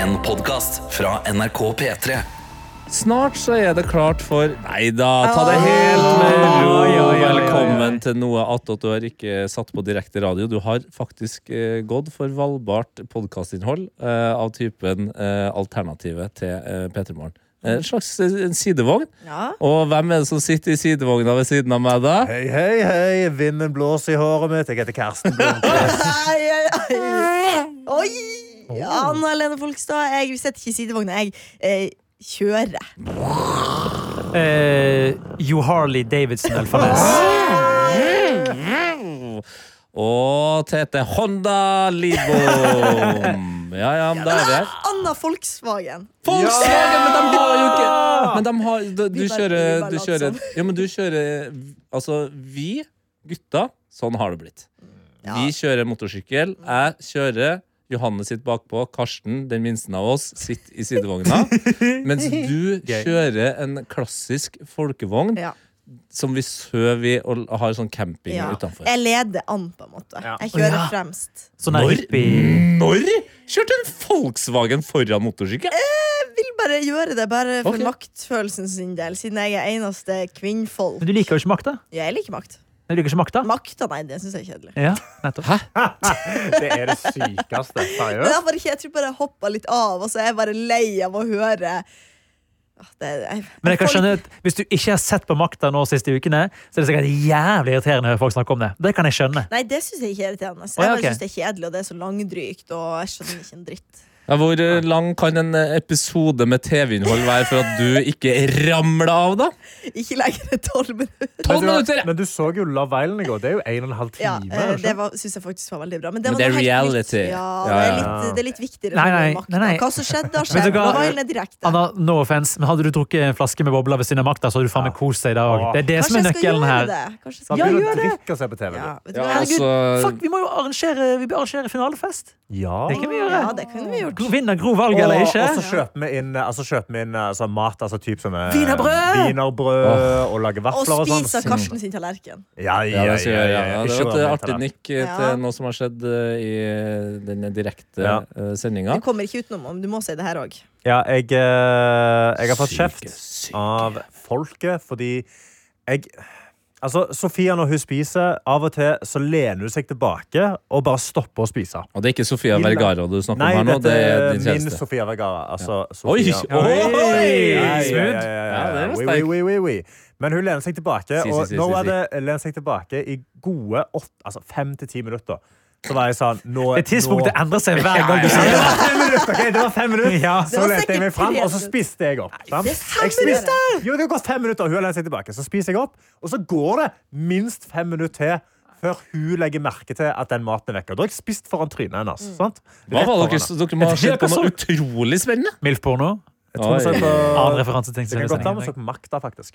En podkast fra NRK P3. Snart så er det klart for Nei da, ta det helt med Oi, ro. oi, oi, oi. Velkommen til noe attåt du har ikke satt på direkte radio. Du har faktisk eh, gått for valgbart podkastinnhold eh, av typen eh, alternativet til eh, P3 Morgen. En slags eh, en sidevogn. Ja. Og hvem er det som sitter i sidevogna ved siden av meg da? Hei, hei, hei, vinden blåser i håret mitt. Jeg heter Karsten Blomkvist. Ai, ai, ai. Oi! Anna Lene Folkestad, jeg setter ikke i sidevogna. Jeg eh, kjører. Eh, Jo Harley Davidson Elfarnes. Og Tete Honda Libom. Ja, ja, men da er vi her. Anna Folksvagen. Volkswagen, men de har jo ikke Men de har, du, du Vi bare- vi kjører, bare du later kjører som. Ja, men du kjører Altså, vi gutta, sånn har det blitt. Ja. Vi kjører motorsykkel. Jeg kjører. Johanne sitter bakpå. Karsten, den minste av oss, sitter i sidevogna. Mens du Gøy. kjører en klassisk folkevogn Ja. som vi søver i og har sånn camping Ja. utenfor. Jeg leder an, på en måte. Ja. Jeg kjører Ja. fremst. Sånn der Når? hippie Mm. Når kjørte en Volkswagen foran motorsykkel? Jeg vil bare gjøre det bare for Ok. maktfølelsen sin del, siden jeg er eneste kvinnfolk. Men du liker jo ikke makta? Jeg liker makt. Du liker ikke makta? Makta, nei, det syns jeg er kjedelig. Ja, nettopp. Det er det sykeste. Men Seriøst. derfor ikke, jeg tror bare jeg hoppa litt av, og så er jeg bare lei av å høre Ah, det, jeg, Men jeg kan folk- skjønne at hvis du ikke har sett på makta nå siste ukene, så er det sikkert jævlig irriterende å høre folk snakke om det. Det kan jeg skjønne. Nei, det syns jeg ikke er irriterende. Jeg Å, ja, bare ok. synes det er kjedelig, og det er så langdrygt, og jeg skjønner ikke en dritt. Ja, hvor eh, lang kan en eh, episode med TV-innhold være for at du ikke ramler av, da? Ikke lenger enn tolv minutter. Tolv Men du- minutter! ja. Men du så jo Love Island i går. Det er jo en og en halv Ja, eh, time. er det det ikke? var- synes jeg faktisk var veldig bra. Men Men det, var det er noe helt reality. nytt. Ja, Ja, det, er ja. litt, det er litt viktigere. Nei, med nei, makten. nei, nei. Hva som skjedde, har Vet du skjedd. hva? Hva var egentlig direkte? Anna, no offense, men hadde du drukket en flaske med bobler ved siden av makta, så hadde du faen meg kost deg i dag. Det er det som Kanskje er jeg skal nøkkelen gjøre her. det? Kanskje jeg Da skal begynner gjøre å drikke og se på TV. Ja, vet du Ja, hva? altså- Herregud. Fuck, vi må jo arrangere, vi bør arrangere finalefest. Ja. Det kan vi gjøre. Ja, det kunne vi gjort. Gro- Vinner Gro valget eller Og, ikke? og så kjøper vi inn, altså kjøper vi inn altså mat. Altså typ sånne Wienerbrød! wienerbrød, og lager Og vafler og sånn. spiser Karsten sin tallerken. Ja, Ja, ja, det ja, skal jeg gjøre, ja. Det Ikke var et rør eh, meg til artig det. nikk eh, Ja. til noe som har skjedd eh, i eh, den direkte Ja. eh, sendinga. Du kommer ikke utenom om du må si det her òg. Ja, jeg, eh, jeg har fått Syke, kjeft syke. av folket fordi jeg Altså, Sofia, når hun spiser, av og til så lener hun seg tilbake og bare stopper å spise. Og det er ikke Sofia Illa. Vergara du snakker Nei, om her nå, dette det er er din min kjæreste. Sofia Vergara. Altså Oi! Sofia. Oi! Ja, ja, Smooth. ja, ja, ja. Ja, det var Oui, sterk. oui, oui, oui, oui. Men hun lener seg Si, tilbake, si, og si, nå si, er det lener seg tilbake i gode åtte, altså fem til ti minutter. Så var jeg sånn nå, Det tidspunktet nå- endrer seg hver gang du Ja, sier det det. var fem minutter, ok, det var fem minutter. Ja. Så var lette jeg meg sikkert fram, tre og så minutter. spiste jeg opp. sant? det er fem Jeg spiste- minutter! Jo, det har gått fem minutter, og hun har lent seg tilbake. Så spiser jeg opp, og så går det minst fem minutter til før hun legger merke til at den maten er vekk. Og da har jeg spist foran trynet hennes. Mm. sant? Hva Rett var foran dere, henne. dere må ha Jeg sett tror på jeg noe utrolig spennende? Milf-porno. Jeg tror vi så Oi. på- Annen referanse til Det kan godt være vi så sendingen. på makta, faktisk.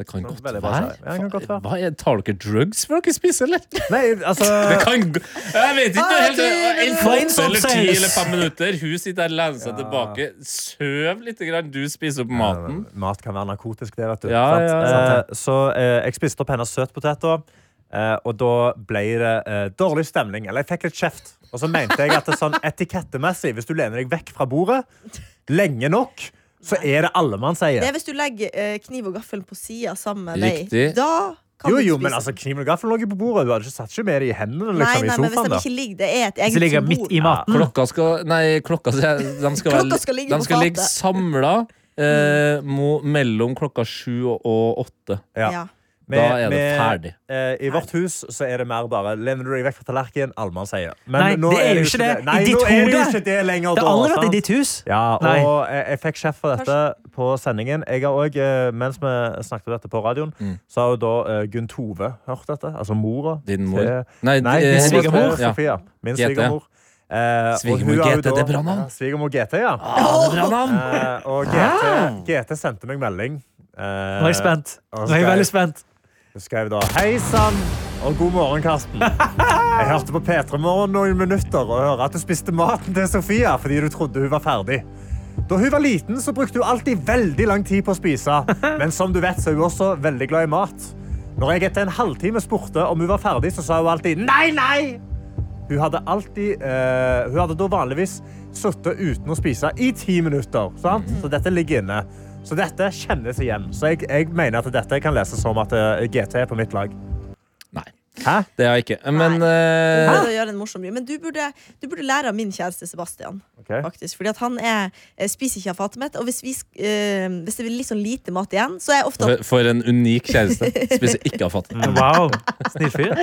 Det kan Sånn, godt veldig bra være. serie. Ja, det kan godt være. Hva er, tar dere drugs før dere spiser, eller? Nei, altså Det kan gå Jeg vet ikke noe helt En Plain kvart eller ti sausage. eller fem minutter Hun sitter der og lener seg tilbake Søv litt grann Du spiser opp maten Mat kan være narkotisk, det, vet du. Ja, Sant? ja, sant Eh, så eh, jeg spiste opp hennes søtpoteter, eh, og da ble det eh, dårlig stemning. Eller jeg fikk litt kjeft. Og så mente jeg at det er sånn etikettemessig, hvis du lener deg vekk fra bordet lenge nok, så er det alle man Det er sier. hvis du legger eh, kniv og gaffel på sida sammen med Riktig. deg. Da kan Jo, du ikke jo, spise. men altså, kniven og gaffelen lå jo på bordet. Du hadde ikke satt ikke med det i hendene liksom, nei, nei, i men hvis sofaen. de da. ikke ligger, det er et Hvis det eget ligger symbol. midt i maten. Klokka skal Nei, klokka skal, de skal, være- Klokka skal ligge de på skal ligge fatet. Mm. samlet eh, mo, Mellom klokka sju og åtte Ja. Ja. Da er det ferdig eh, I vårt hus så er det mer bare lener du deg vekk fra tallerkenen, allmann sier. Nei, det er jo ikke det. I Nei, ditt nå er det jo hode. ikke det lenger. Det har da, aldri vært i sant? ditt hus. Ja, og Nei. jeg, jeg fikk sjef for dette på sendingen. Jeg har også, eh, mens vi snakket om dette på radioen, Mm. så har jo da eh, Gunn Tove hørt dette. Altså mora. Din mor. til- Nei, Nei, eh, din svigermor. svigermor. Ja. Sofia. Min GT. svigermor. Eh, og Svigermor hun har jo GT, det er bra navn. Ah. Ja, Svigermor GT, ja. Bra navn Eh, og GT, GT sendte meg melding. Eh, Nå er jeg spent. Nå er jeg veldig spent. Hun skrev da Hei sann og god morgen, Karsten. Jeg hørte på P3 Morgen noen minutter og hører at du spiste maten til Sofia fordi du trodde hun var ferdig. Da hun var liten, så brukte hun alltid veldig lang tid på å spise. Men som du vet, så er hun også veldig glad i mat. Når jeg etter en halvtime spurte om hun var ferdig, så sa hun alltid nei, nei. Hun hadde alltid eh, Hun hadde da vanligvis sittet uten å spise i ti minutter. Sant? Så dette ligger inne. Så dette kjennes igjen. Så jeg, jeg mener at dette kan leses som at eh, GT er på mitt lag. Nei, Hæ? det har jeg ikke. Men Du eh, prøvde å gjøre en morsom by, Men du burde, du burde lære av min kjæreste Sebastian. Faktisk, fordi at han er, eh, spiser ikke av fatet mitt. Og hvis, vi, sk- eh, hvis det blir litt sånn lite mat igjen, så er jeg ofte for, for en unik kjæreste. Spiser ikke av fattig. Wow, snill fyr.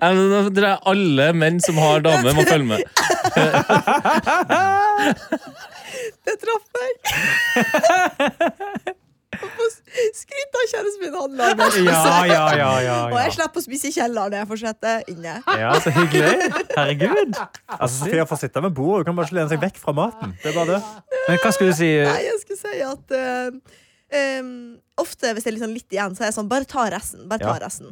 Nei, men nå- Dere er alle menn som har dame, må følge med. Det traff meg! Skryt av kjæresten min, han lar meg spise. Ja, ja, ja, Ah, ja, Og jeg ja. slipper å spise i kjelleren når jeg fortsetter inne. ja så hyggelig. Herregud. Altså, Sofia får sitte ved bordet. Hun kan bare ikke lene seg vekk fra maten. Det er bare det. Men hva skulle du si? Nei, jeg skulle si at eh, em, Ofte hvis det er liksom litt igjen, så er jeg sånn Bare ta resten. Bare ta Ja. resten.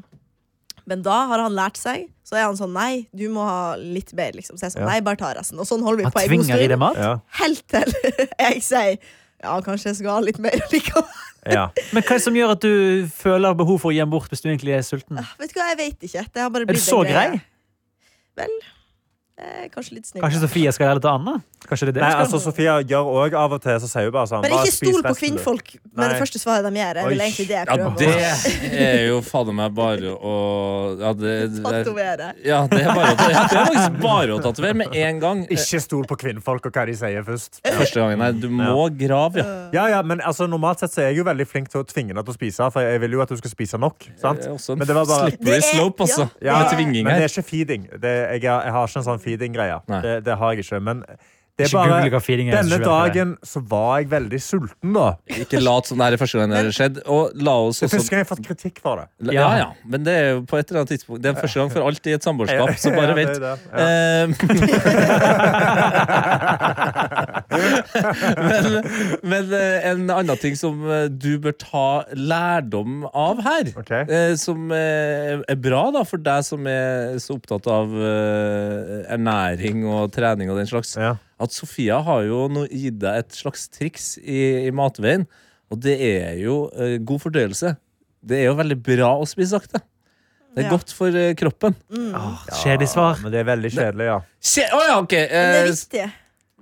Men da har han lært seg, så er han sånn Nei, du må ha litt mer. Liksom. Så jeg er sånn, Ja. nei, bare ta resten. Og sånn holder vi Han på en god tvinger i deg stund. mat? Ja. Helt til jeg sier ja, kanskje jeg skal ha litt mer likevel. Ja. Men hva er det som gjør at du føler behov for å gi en bort hvis du egentlig er sulten? Vet du hva, jeg vet ikke. Ah, Det har bare Er du blitt så en greie. grei? Vel, eh, kanskje litt snill. Kanskje Sofie skal gjøre det til Anna? Kanskje det er det? Nei, altså, Sofia gjør òg av og til så sier hun bare sånn Men «Bare ikke spis stol på resten, du». kvinnfolk med det Nei. første svaret de gjør. Det er vel Oi. egentlig det Ja, jeg prøver det er jo fader meg bare å ja, det, det, å tatovere. ja, det er bare å det er faktisk bare å tatovere med en gang. Ikke stol på kvinnfolk og hva de sier først. Første gangen. Nei, du må grave, ja. Ja, ja, men altså, Normalt sett så er jeg jo veldig flink til å tvinge deg til å spise, for jeg vil jo at du skal spise nok. sant? Det er også en Men det var bare... Det slippery er- slope, altså. ja, med tvinging men det her. er ikke feeding. Det, jeg, har- jeg har ikke en sånn feeding-greie. Nei. Det, det har jeg ikke. Men det er Ikke bare google hva feeding er, så Denne skjønner jeg det. dagen så var jeg veldig sulten, da. Ikke lat som det her er første gang det har skjedd. Og la oss Det er også første gang jeg har fått kritikk for det. Ja, ja, men det er jo på et eller annet tidspunkt Det er første gang for alt i et samboerskap, så Ja, bare det er vent. Ehm, det, Eh, men men eh, en annen ting som eh, du bør ta lærdom av her, Ok. eh, som eh, er bra da for deg som er så opptatt av eh, ernæring og trening og den slags, Ja. at Sofia har jo nå gitt deg et slags triks i, i matveien, og det er jo eh, god fordøyelse. Det er jo veldig bra å spise sakte. Det er Ja. godt for eh, kroppen. Åh, Kjedelig svar. Men det er veldig kjedelig, ja. Kje, å ja, ok. Men det Eh, er s- viktig.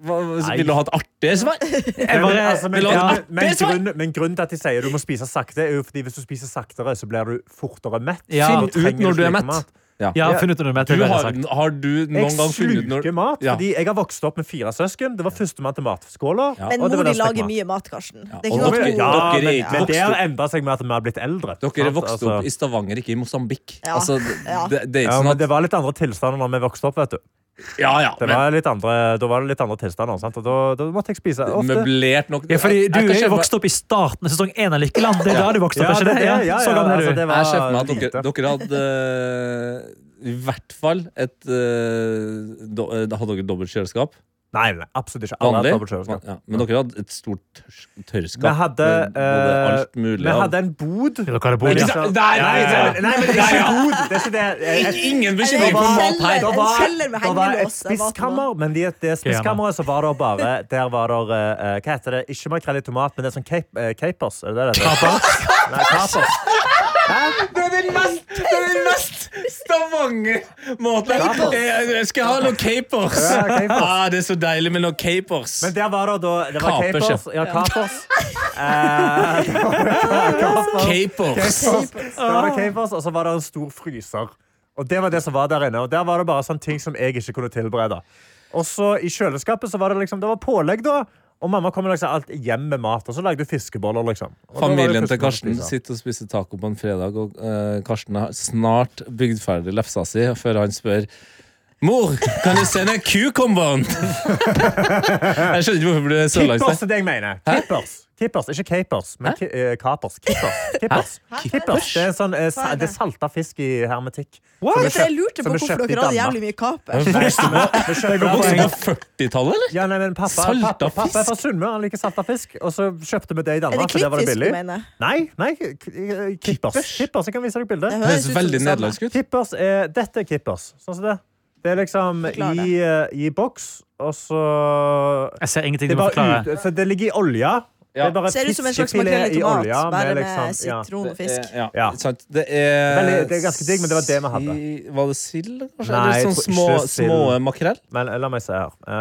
hva, Nei. vil du ha et artig svar? Jeg Men, bare, altså, men, vil du ha et ja, men, artig svar? grunn, men grunnen til at de sier du må spise sakte, er jo fordi hvis du spiser saktere, så blir du fortere mett. Ja. Så Finn trenger ut når du er ikke mett. mat. jeg har funnet ut noe med Du det. jeg har, har sagt. har du Jeg noen gang funnet ut når sluker mat Ja. fordi jeg har vokst opp med fire søsken. Det var førstemann til matskåla. Ja. Men og det var mor di den stekte lager mat. mye mat, Karsten. Det er og ikke noe dere- at hun- Ja, Dere er men, ikke men vokst det har opp- endra seg med at vi har blitt eldre. Dere er Sant? vokst Altså, opp i Stavanger, ikke i Mosambik. Ja. Altså, Ja. det, det er ja, ikke sånn men at det var litt andre tilstander når vi vokste opp. vet du Ja, ja. det Men, var litt andre, Da var det litt andre tilstander, sant? og da, da måtte jeg spise ofte. møblert nok Ja, fordi Jeg- jeg du kan er kjenne- jo vokst opp i starten av sesong én av Lykkeland. Det er da du vokste opp, Ja, er ikke det- det? Ja, ja, ja, så gammel altså, er du. det var Jeg ser for meg at lite. dere, dere hadde eh, i hvert fall et eh, do, eh, Hadde dere dobbelt kjøleskap? Nei, nei, absolutt ikke. Alle Vanlig? hadde dobbeltkjøleskap. Ja, men dere hadde et stort tørs- tørrskap. Vi hadde, med både eh, alt mulig vi av- hadde en bod. liksom- Vet du hva det bor i? Ikke sant? Nei, nei, Ja, ja, ja. Nei, men det er ikke bod. Det er ikke det. Jeg- jeg- Ingen bekymring for mat her. Da var- En kjeller med da var hengelås, et det var spiskammer, men de, det spiskammeret så var det bare Der var det eh, Hva heter det? Ikke makrell i tomat, men det er sånn cap, eh, capers. Er det det det heter? Nei, capers. Det er den mest, det er den mest Stavanger-måten. Capers. Jeg, jeg skal ha noen capers. Ja, capers. Ah, det er så deilig med noen capers. Men der var det da det var Kapers, capers. Ja, capers. Eh, det var capers. Capers. Da var det capers, og så var det en stor fryser. Og det var det som var der inne. Og der var det bare sånne ting som jeg ikke kunne tilberede. Og så i kjøleskapet så var det liksom, det var pålegg, da. Og mamma kom liksom alt hjem med mat, og så lagde hun fiskeboller, liksom. Og da var det Familien til fiskeboller å Karsten spise. sitter og spiser taco på en fredag, og eh, Karsten har snart bygd ferdig lefsa si før han spør Mor, kan du sende cucumberen? jeg skjønner ikke hvorfor du er så langt Kippers er det jeg mener. Kippers. Kippers, Ikke capers, men ki eh, kapers. Kippers. Kippers. Kippers. Det er, sånn, eh, sa- Hva er det? det er salta fisk i hermetikk. Ja, Som vi for Jeg kjøpt- lurte på som vi hvorfor kjøpte i dere hadde Danmark. jævlig mye kapers. Vi kjøpte det på en- Voksen på 40-tallet, eller? Ja, nei, men pappa, Salta pappa, pappa er fisk? fra Sunnmøre, han liker salta fisk. Og så kjøpte vi det i Er det Danmark, for der var altså, det klittfisk du billig. mener? Nei, nei, k- k- kippers. Kippers, Jeg kan vise deg Det bildet. Det høres høres ut som veldig det samme. nederlandsk ut. Kippers er, dette er kippers. Sånn som det. Det er liksom Forklar i, eh, i boks, og så Jeg ser ingenting Det, du er må bare forklare. ut, for det ligger i olja. Ja. Det er bare Ser ut som en slags fiskefilet makrell i tomat, olje bare med liksom- ja. sitron og Eh, fisk. Ja, Ja. Sant? Det, er, Veldig- det er ganske digg, men det var det vi hadde. si- Var det sild, kanskje? Nei, Eller jeg sånn tror små, ikke sild. små makrell? Men la meg se her. Eh,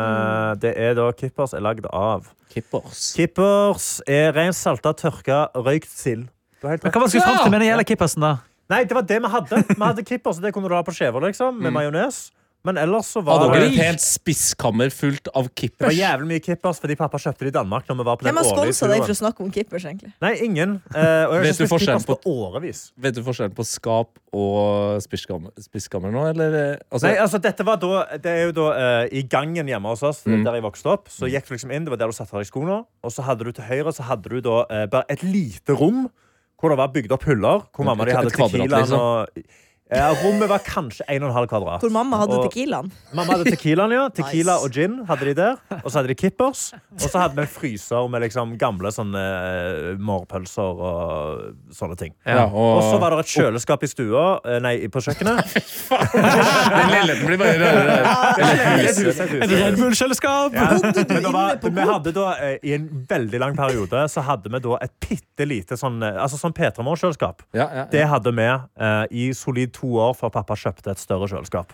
Mm. det er da kippers er lagd av Kippers. Kippers er rent salta, tørka, røykt sild. Du har helt Men rett. hva man skulle fram til med den gjelder kippersen, da? Nei, det var det vi hadde. Vi hadde kippers, og det kunne du ha på skiver, liksom, med majones. Men ellers så var Hadde dere det et helt spiskammer fullt av Det var kippers? jævlig mye kippers fordi pappa kjøpte det i Danmark. Når vi var på den Hvem har årlige sponsa deg for turen. å snakke om kippers, egentlig? Nei, ingen. Eh, og jeg har Vet ikke du spist forskjellen kippers på årevis. Vet du forskjellen på skap og spiskammer, spiskammer nå, eller? eh, Altså, Nei, altså, dette var da, det er jo da eh, i gangen hjemme hos oss, Mm. der jeg vokste opp. Så gikk du liksom inn, Det var der du satte av deg skoene. Og så hadde du til høyre så hadde du da eh, bare et lite rom hvor det var bygd opp hyller. Hvor mamma Mm, Et- de hadde et kvadrat, tequilaen liksom. og ja, Rommet var kanskje 1,5 kvadrat. Hvor mamma hadde Og- tequilaen? Mamma hadde tequilaen, ja. Tequila Nice. og gin hadde de der. Og så hadde de kippers. Og så hadde vi en fryser med liksom gamle sånne eh, mårpølser og sånne ting. ja, og, Og så var det et kjøleskap i stua, eh, nei, på kjøkkenet. Den leiligheten blir bare rødere. Eller et hus, et hus, et hus. Red Bull-kjøleskap! Ja. Bodde du Men det var- inne på vi hadde da, eh, I en veldig lang periode så hadde vi da et bitte lite sånn, eh, altså sånn P3-morgenselskap. Ja, ja, ja. Det hadde vi eh, i solid to år før pappa kjøpte et større kjøleskap.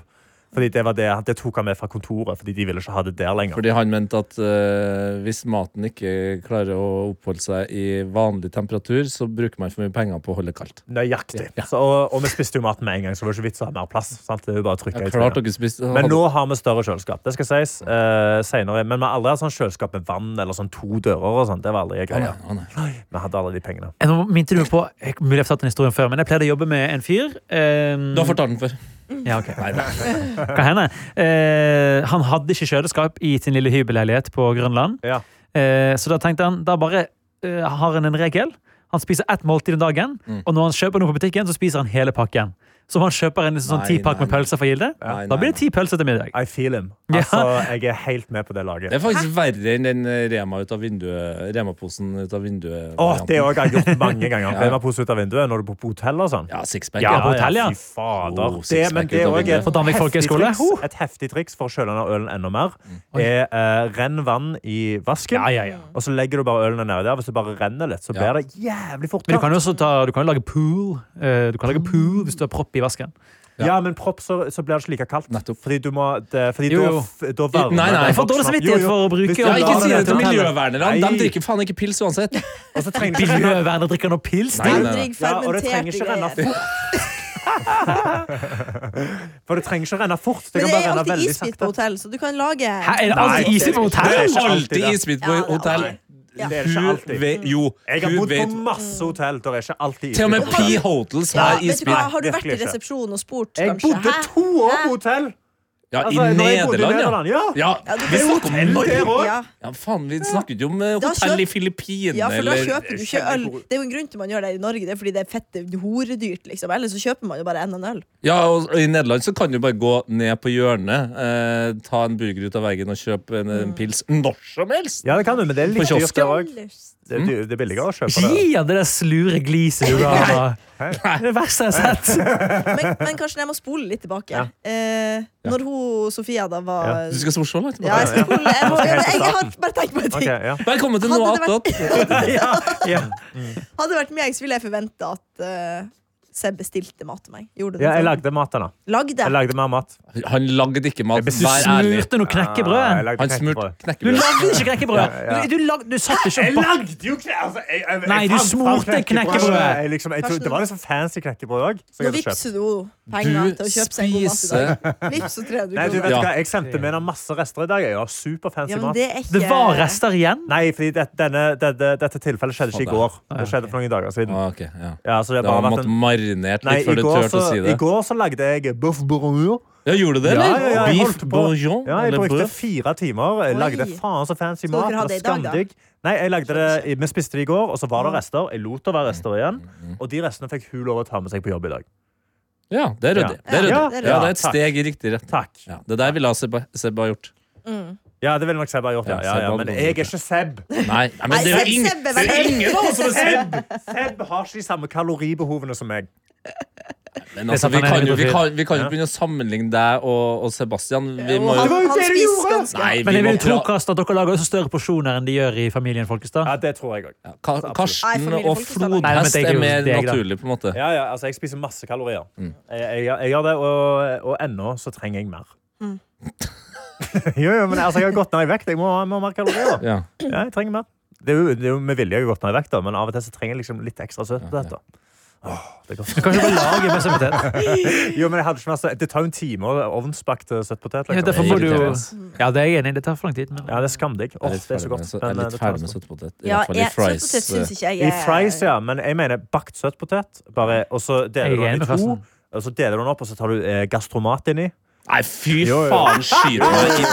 Fordi det, var det, det tok han med fra kontoret, fordi de ville ikke ha det der lenger. Fordi han mente at eh, hvis maten ikke klarer å oppholde seg i vanlig temperatur, så bruker man for mye penger på å holde kaldt. Nøyaktig. Så, og, og vi spiste jo maten med en gang, så det var ikke vits å ha mer plass. Sant? Det er jo bare å trykke Ja, i klart trynet. dere spiste Men hadde- nå har vi større kjøleskap. Det skal sies eh, senere. Men vi har aldri hatt sånn kjøleskap med vann eller sånn to dører. og sånt. Det var aldri Å, greia. nei, å, nei. Vi hadde alle de pengene. Nå minte du meg på jeg, Mulig jeg har fortalt den historien før, men jeg pleide å jobbe med en fyr. ehm, Du har fortalt den før. Ja, ok. Hva hender? Eh, han hadde ikke kjøleskap i sin lille hybelleilighet på Grønland. Ja. Eh, så da tenkte han da bare eh, har han en regel. Han spiser ett måltid om dagen, Mm. og når han kjøper noe på butikken, så spiser han hele pakken. Så om han kjøper en sånn Nei, tipakk nei, med pølser fra Gilde, Nei, da nei, blir det ti pølser til middag. I feel him. Ja. Altså, jeg er helt med på det laget. Det er faktisk verre enn den eh, Rema ut av vinduet Rema-posen ut av vinduet. Å, det har jeg gjort mange ganger. Ja. Hvem har pose ut av vinduet når du bor på hotell og sånn? Ja, sixpack. Ja, på hotell, ja. Fy fader. Oh, det, sixpack men ut det av er også vinduet. et På Danvik heftig folkehøyskole. triks- Ho! Et heftig triks for å kjøle ned ølen enda mer er eh, renn vann i vasken, Ja, ja, ja. og så legger du bare ølene nedi der. Hvis det bare renner litt, så Ja. blir det jævlig fort Men du kan kaldt. jo også ta, du kan jo lage pool. Eh, du kan lage pool hvis du har propp i vasken. Ja, men propp, så, så blir det ikke like kaldt. Nettopp. Fordi du må det, fordi Jo, da jo. f- da varmer Nei, nei, det jeg får folk dårlig snart. samvittighet Jo, jo. for å bruke- Hvis du Ja, Ja, ikke lar si det til hotellet- miljøvernerne! De Nei. drikker faen ikke pils uansett. Og så trenger du ikke Miljøvernet drikker nå pils. Nei, nei, nei. Aldrig Ja, og det fermenterte trenger ikke renne greier. For det trenger ikke renne fort. Det Men kan det er bare renne alltid veldig isbit på sakte. hotell, så du kan lage Hæ, er det Nei, alltid isig på Det hotell? er ikke alltid alltid det. isbit på Ja, det er hotell. alltid. Ja. Det er ikke Hun alltid. vet Jo, Jeg har hun bodd vet på masse hotell der det ikke alltid er Til og med isbit på hotell. P Hotels Ja, har vet du hva, isbit. har du vært i Virkelig ikke. resepsjonen og spurt, Jeg kanskje? bodde Hæ? to år Hæ? på hotell! Ja, Altså, I når jeg bodde i Nederland, Nederland, ja. ja. ja. Ja, du- Vi snakker om Norge. der også. Ja. Ja, faen, vi snakker jo om eh, Da hotell kjøp- i Filippinene Ja, for da eller kjøper du ikke øl. Det er jo en grunn til man gjør det i Norge. Det er fordi det er fette horedyrt, liksom. Ellers så kjøper man jo bare enda en øl. Ja, og I Nederland så kan du bare gå ned på hjørnet, eh, ta en burger ut av veggen og kjøpe en, Mm. en pils når som helst. Ja, det kan du, men det er På litt dyrt kiosken. der òg. Det, er dyr- det er billigere å kjøpe Ikke det. gi han det der slure gliset du ga. da. Det er det verste jeg har sett. Men, men kanskje jeg må spole litt tilbake. Ja. Eh, når hun Sofia da var Ja. Du skal spole så langt Ja, jeg skal spole. Jeg, må, jeg, jeg, har bare tenkt på en Ok, ting. ja. Velkommen til Hadde noe det vært- attåt. Ja, ja. Hadde det vært meg, så ville jeg forvente at eh, Seb bestilte mat til meg. Gjorde du det? ja, jeg sånn? lagde mat da. Lagde. Jeg lagde mer mat. Han lagde ikke mat, Du vær ærlig. smurte noe Ja, jeg knekkebrød. lagde Han smurte knekkebrød. Du knekkebrød. lagde ikke knekkebrød. ja. Du, du, lag, du satt ikke og Jeg bak- lagde jo ikke altså, jeg, jeg, jeg Nei, du fant fram smurte knekkebrød. Jeg liksom, jeg, trodde- det var litt sånn fancy knekkebrød òg. Så Nå jeg hadde kjøpt. vippset hun penger Du til å kjøpe seg en god mat i dag. spiser Vips og 300 Nei, kroner. du vet Ja. hva, jeg sendte med henne masse rester i dag. Jeg har superfancy Ja, men mat. det er ikke Det var rester igjen. Nei, fordi det, denne, dette, dette tilfellet skjedde ikke i går. Det skjedde for noen dager siden. ah, ok, ja. Ja, så Det det har har bare vært måttet en... marinert Nei, litt i før du går, turte så, å si i det. går så lagde jeg boeuf bourguignon. Ja, Gjorde du det, Ja, eller? ja, ja, jeg Beef holdt på- bourgeon? Ja, jeg eller brukte bøff? fire timer. Jeg Oi. lagde faen så fancy dere mat. ha det det i var dag, da? Mm. skamdigg. Nei, jeg lagde det, i- Vi spiste det i går, og så var det rester. Jeg lot det være rester Mm, igjen. Og de restene fikk hun lov å ta med seg på jobb i dag. Ja, det er ryddig. Ja. Det er, ryddig. det er Ja, Ja, ryddig. det er et Takk. steg i riktig retning. Takk. Ja, det der ville ha Sebba Sebba gjort. Ja, det ville nok Seb ha gjort. Ja. Ja, Ja, Seb ja, hadde men nok jeg er gjort det. ikke Seb. Nei, nei men Nei, det er Seb- jo ingen, Sebbe, det er veldig- ingen av oss som er Seb! Seb har ikke de samme kaloribehovene som meg. Men altså, vi satte han kan i jo vi mikrofil. kan, vi kan jo begynne å sammenligne deg og, og Sebastian. Vi må han, jo var jo han det du spiser gjorde! ganske Nei, Men vi jeg må vil tro pra Karsten, at dere lager også større porsjoner enn de gjør i Familien Folkestad. Ja, det tror jeg òg. Ka- Karsten Nei, familie- og folkestad, da. Nei, men flodhest det er er jo mer deg, da. naturlig, på en måte. Ja, ja, altså, jeg spiser masse kalorier. Mm. Jeg, jeg, jeg gjør det, og, og ennå så trenger jeg mer. Jo, jo, men altså, jeg har gått ned i vekt. Jeg må ha må ha mer kalorier. Ja. Ja, jeg trenger mer. Det er jo, det er jo med vilje jeg har gått ned i vekt, da, men av og til så trenger jeg liksom litt ekstra søtpotet. da. Åh, det er godt. Kan ikke bare lage med søtpotet? Jo, men jeg hadde ikke mer søt. Det tar jo en time å ovnsbakte søtpotet. Ja, derfor Liksom. må du jo irriterende, ass. Ja, det er jeg enig i. Det tar for lang tid. Men... Ja, det er skamdigg. Åh, Jeg er litt det er ferdig så med søt- godt. jeg er Men, eh, litt det tar ferdig med så- søtpotet. I Ja, hvert fall i jeg, fries. eh. søtpotet syns ikke jeg I er fries, ja, men jeg mener bakt søtpotet. Bare, og så Jeg er deler du den enig i med to, Karsten. og så deler du den opp, og så tar du eh, gastromat inni. Nei, fy Jo, jo. faen! Skyt meg i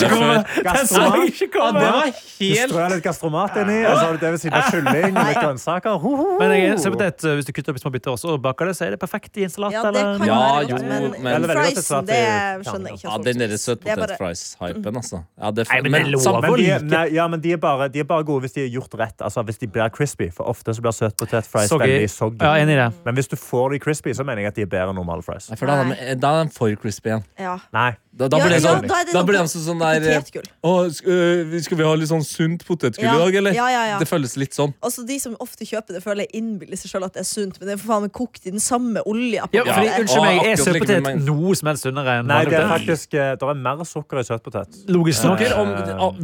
trynet før. Gastromat. ikke Ja, det var Du helt strør litt gastromat inni, og så har du det ved siden av kylling og litt grønnsaker. Ho, ho, ho. Men jeg, er- søtpotet, hvis du kutter opp i små biter også og baker det, så er det perfekt i en salat. Ja, det kan eller... Ja, være godt, jo, men, men- men friesen, det Ja, skjønner jeg ikke. Ja, at folk den der spiser. Det er bare- søtpotet-fries-hypen, altså. Ja, det er Nei, fa- men det lover sam- Men de, like. nei, ja, men de er, bare, de er bare gode hvis de er gjort rett. Altså Hvis de blir crispy. For ofte så blir søtpotet fries Soggy. veldig soggy. Ja, enig i det. Men hvis du får de crispy, så mener jeg at de er bedre enn normale fries. Nei, for da er de- da er de for crispy igjen. Ja. Nei. Da, da Ja, blir det ja, sånn, da er det da noe blir de sånn, sånn der eh, Potetgull. Å, sk- øh, skal vi ha litt sånn sunt potetgull Ja. i dag, eller? Ja, ja, ja. Det føles litt sånn. Altså, de som ofte kjøper det, føler jeg innbiller seg sjøl at det er sunt, men det er for faen meg kokt i den samme olja. på Ja, en fordi, måte. unnskyld meg, er akkurat like søtpotet mye- noe som helst sunnere enn Nei, det vanlig er potet? faktisk eh, Det er mer sukker i søtpotet. Logisk nok. Snakker om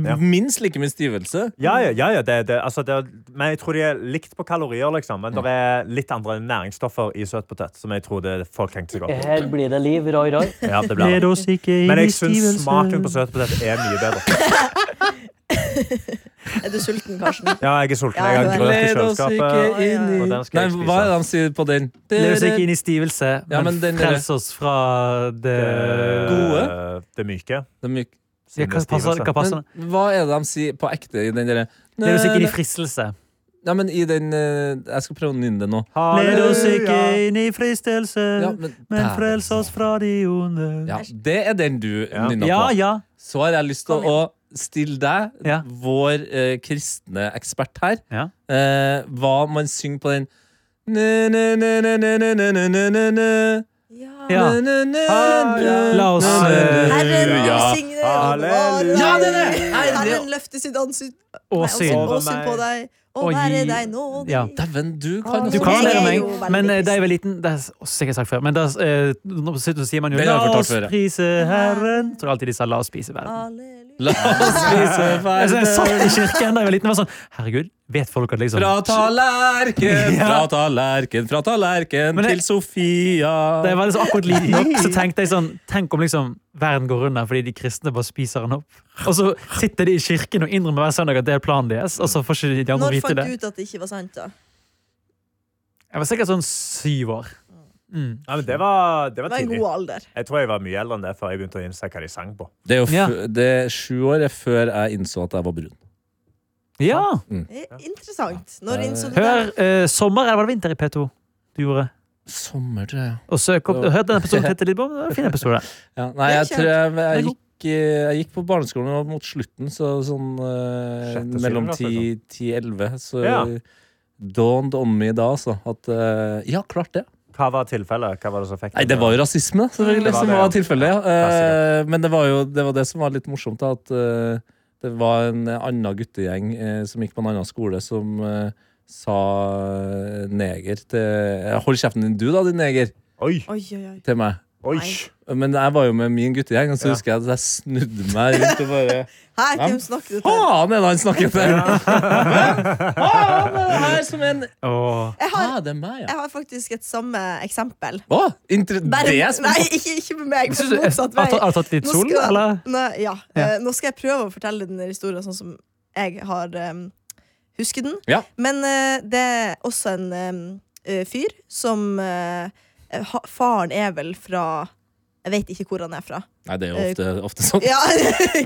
ja. ah, minst like mye stivelse. Ja, ja, ja, ja det, det, altså, det er, men jeg tror de er likt på kalorier, liksom. Men Mm. det er litt andre næringsstoffer i søtpotet som jeg tror det, folk tenkte seg Eh, godt Her blir det liv, roi, roi. om. Ja, det blir det. oss ikke i Men jeg syns smaken på søtpotet er mye bedre. Er du sulten, Karsten? Ja, jeg er sulten. Ja, Jeg du har er. grøt i Led oss kjøleskapet. ikke inn i Og den skal Nei, jeg hva er det spise. de sier på den? Lev oss ikke inn i stivelse, Ja, men, men den- frels oss fra det Eh, Gode? Det myke. Det er myk. ja, Hva passer, hva passer? det? Men hva er det de sier på ekte i den derre Lev oss ikke inn i fristelse. Ja, men i den eh, Jeg skal prøve å nynne det nå. Led oss ikke inn i fristelse, Ja, men- altså. men frels oss fra de onde. Ja, det er den du Ja. nynner på. Ja, ja. Så har jeg lyst til å stille deg, Ja. vår eh, kristne ekspert her, Ja. eh, hva man synger på den Nø, nø, nø, nø, nø, nø, nø, nø, nø, nø, nø. Ja. Nø, nø, nø, nø, La oss, nø, eh, nø, Herren nø, ja. velsigne og Halleluja. bevare Ja, det er det! deg. Herre- Herren løfte sitt ansikt Og Nei, synd. Og syn på deg, og Og være gi- deg nådig. Ja. Dæven, du kan Ah, Du også Jeg kan lære er meg, jo veldig men eh, da jeg kristen. var liten Det har jeg sikkert sagt før, men da eh, nå sitter- sier man jo Det har jeg La fortalt oss før, ja. prise Herren. Jeg Tror alltid de sa la oss prise Ah. verden. Halleluja. La oss spise Altså, jeg verden satt i kirken da jeg var liten og var sånn Herregud, vet folk at liksom fra tallerken, fra Ja. tallerken, fra tallerken Men det- til Sofia. Da jeg var liksom akkurat liten nok, så tenkte jeg sånn Tenk om liksom verden går under fordi de kristne bare spiser den opp. Og så sitter de i kirken og innrømmer hver søndag at det er planen deres, og så får ikke de andre Når vite fant det. du ut at det ikke var sant, da? Jeg var sikkert sånn syv år. Mm. Ja, men det var, det Det var var en tidlig. god alder. Jeg tror jeg var mye eldre enn det før jeg begynte å innse hva de sang på. Det er jo f Ja. det er sju år før jeg innså at jeg var brun. Ja! Eh, Interessant. Når innså du det? Hør eh, sommer, eller var det vinter i P2 du gjorde? Sommer, tror jeg. Og søk opp, hør den episoden Petter Lidbom. det var en Fin episode. Ja, nei, Det er jeg tror jeg, Det er jeg, god. gikk, eh, jeg gikk på barneskolen og mot slutten, så sånn eh, Sjette, syvende mellom klasse, 10-11, så sånn. Ja. dawned on me da, altså. At eh, Ja, klart det. Hva var tilfellet? Hva var det som fikk Nei, det var jo rasisme, selvfølgelig, Det var som det, var ja. tilfellet. Ja. Klassiker. Eh, men det var jo det, var det som var litt morsomt, da, at eh, det var en annen guttegjeng eh, som gikk på en annen skole, som eh, sa eh, neger til Hold kjeften din, du da, din neger, Oi, Oi, oi, oi. til meg. oi. Nei. Men jeg var jo med min guttegjeng, og så Ja. husker jeg at jeg snudde meg rundt og bare Hæ, Ja. hvem snakker du til? Faen er det han snakker til! Faen er det her som en Åh. Jeg har, ah, det er meg, ja. jeg har faktisk et samme eksempel. Å, inter Bare, det er som nei, ikke, ikke med meg, Syns men du- motsatt Har vei. du tatt litt Nå sol, skal- eller? Nei, ja. Ja. Eh, nå skal jeg prøve å fortelle den historien sånn som jeg har um, husket den. Ja. Men eh, det er også en em, eh, fyr som eh, ha, Faren er vel fra Jeg vet ikke hvor han er fra. Nei, det er jo ofte, ofte sånn. Ja,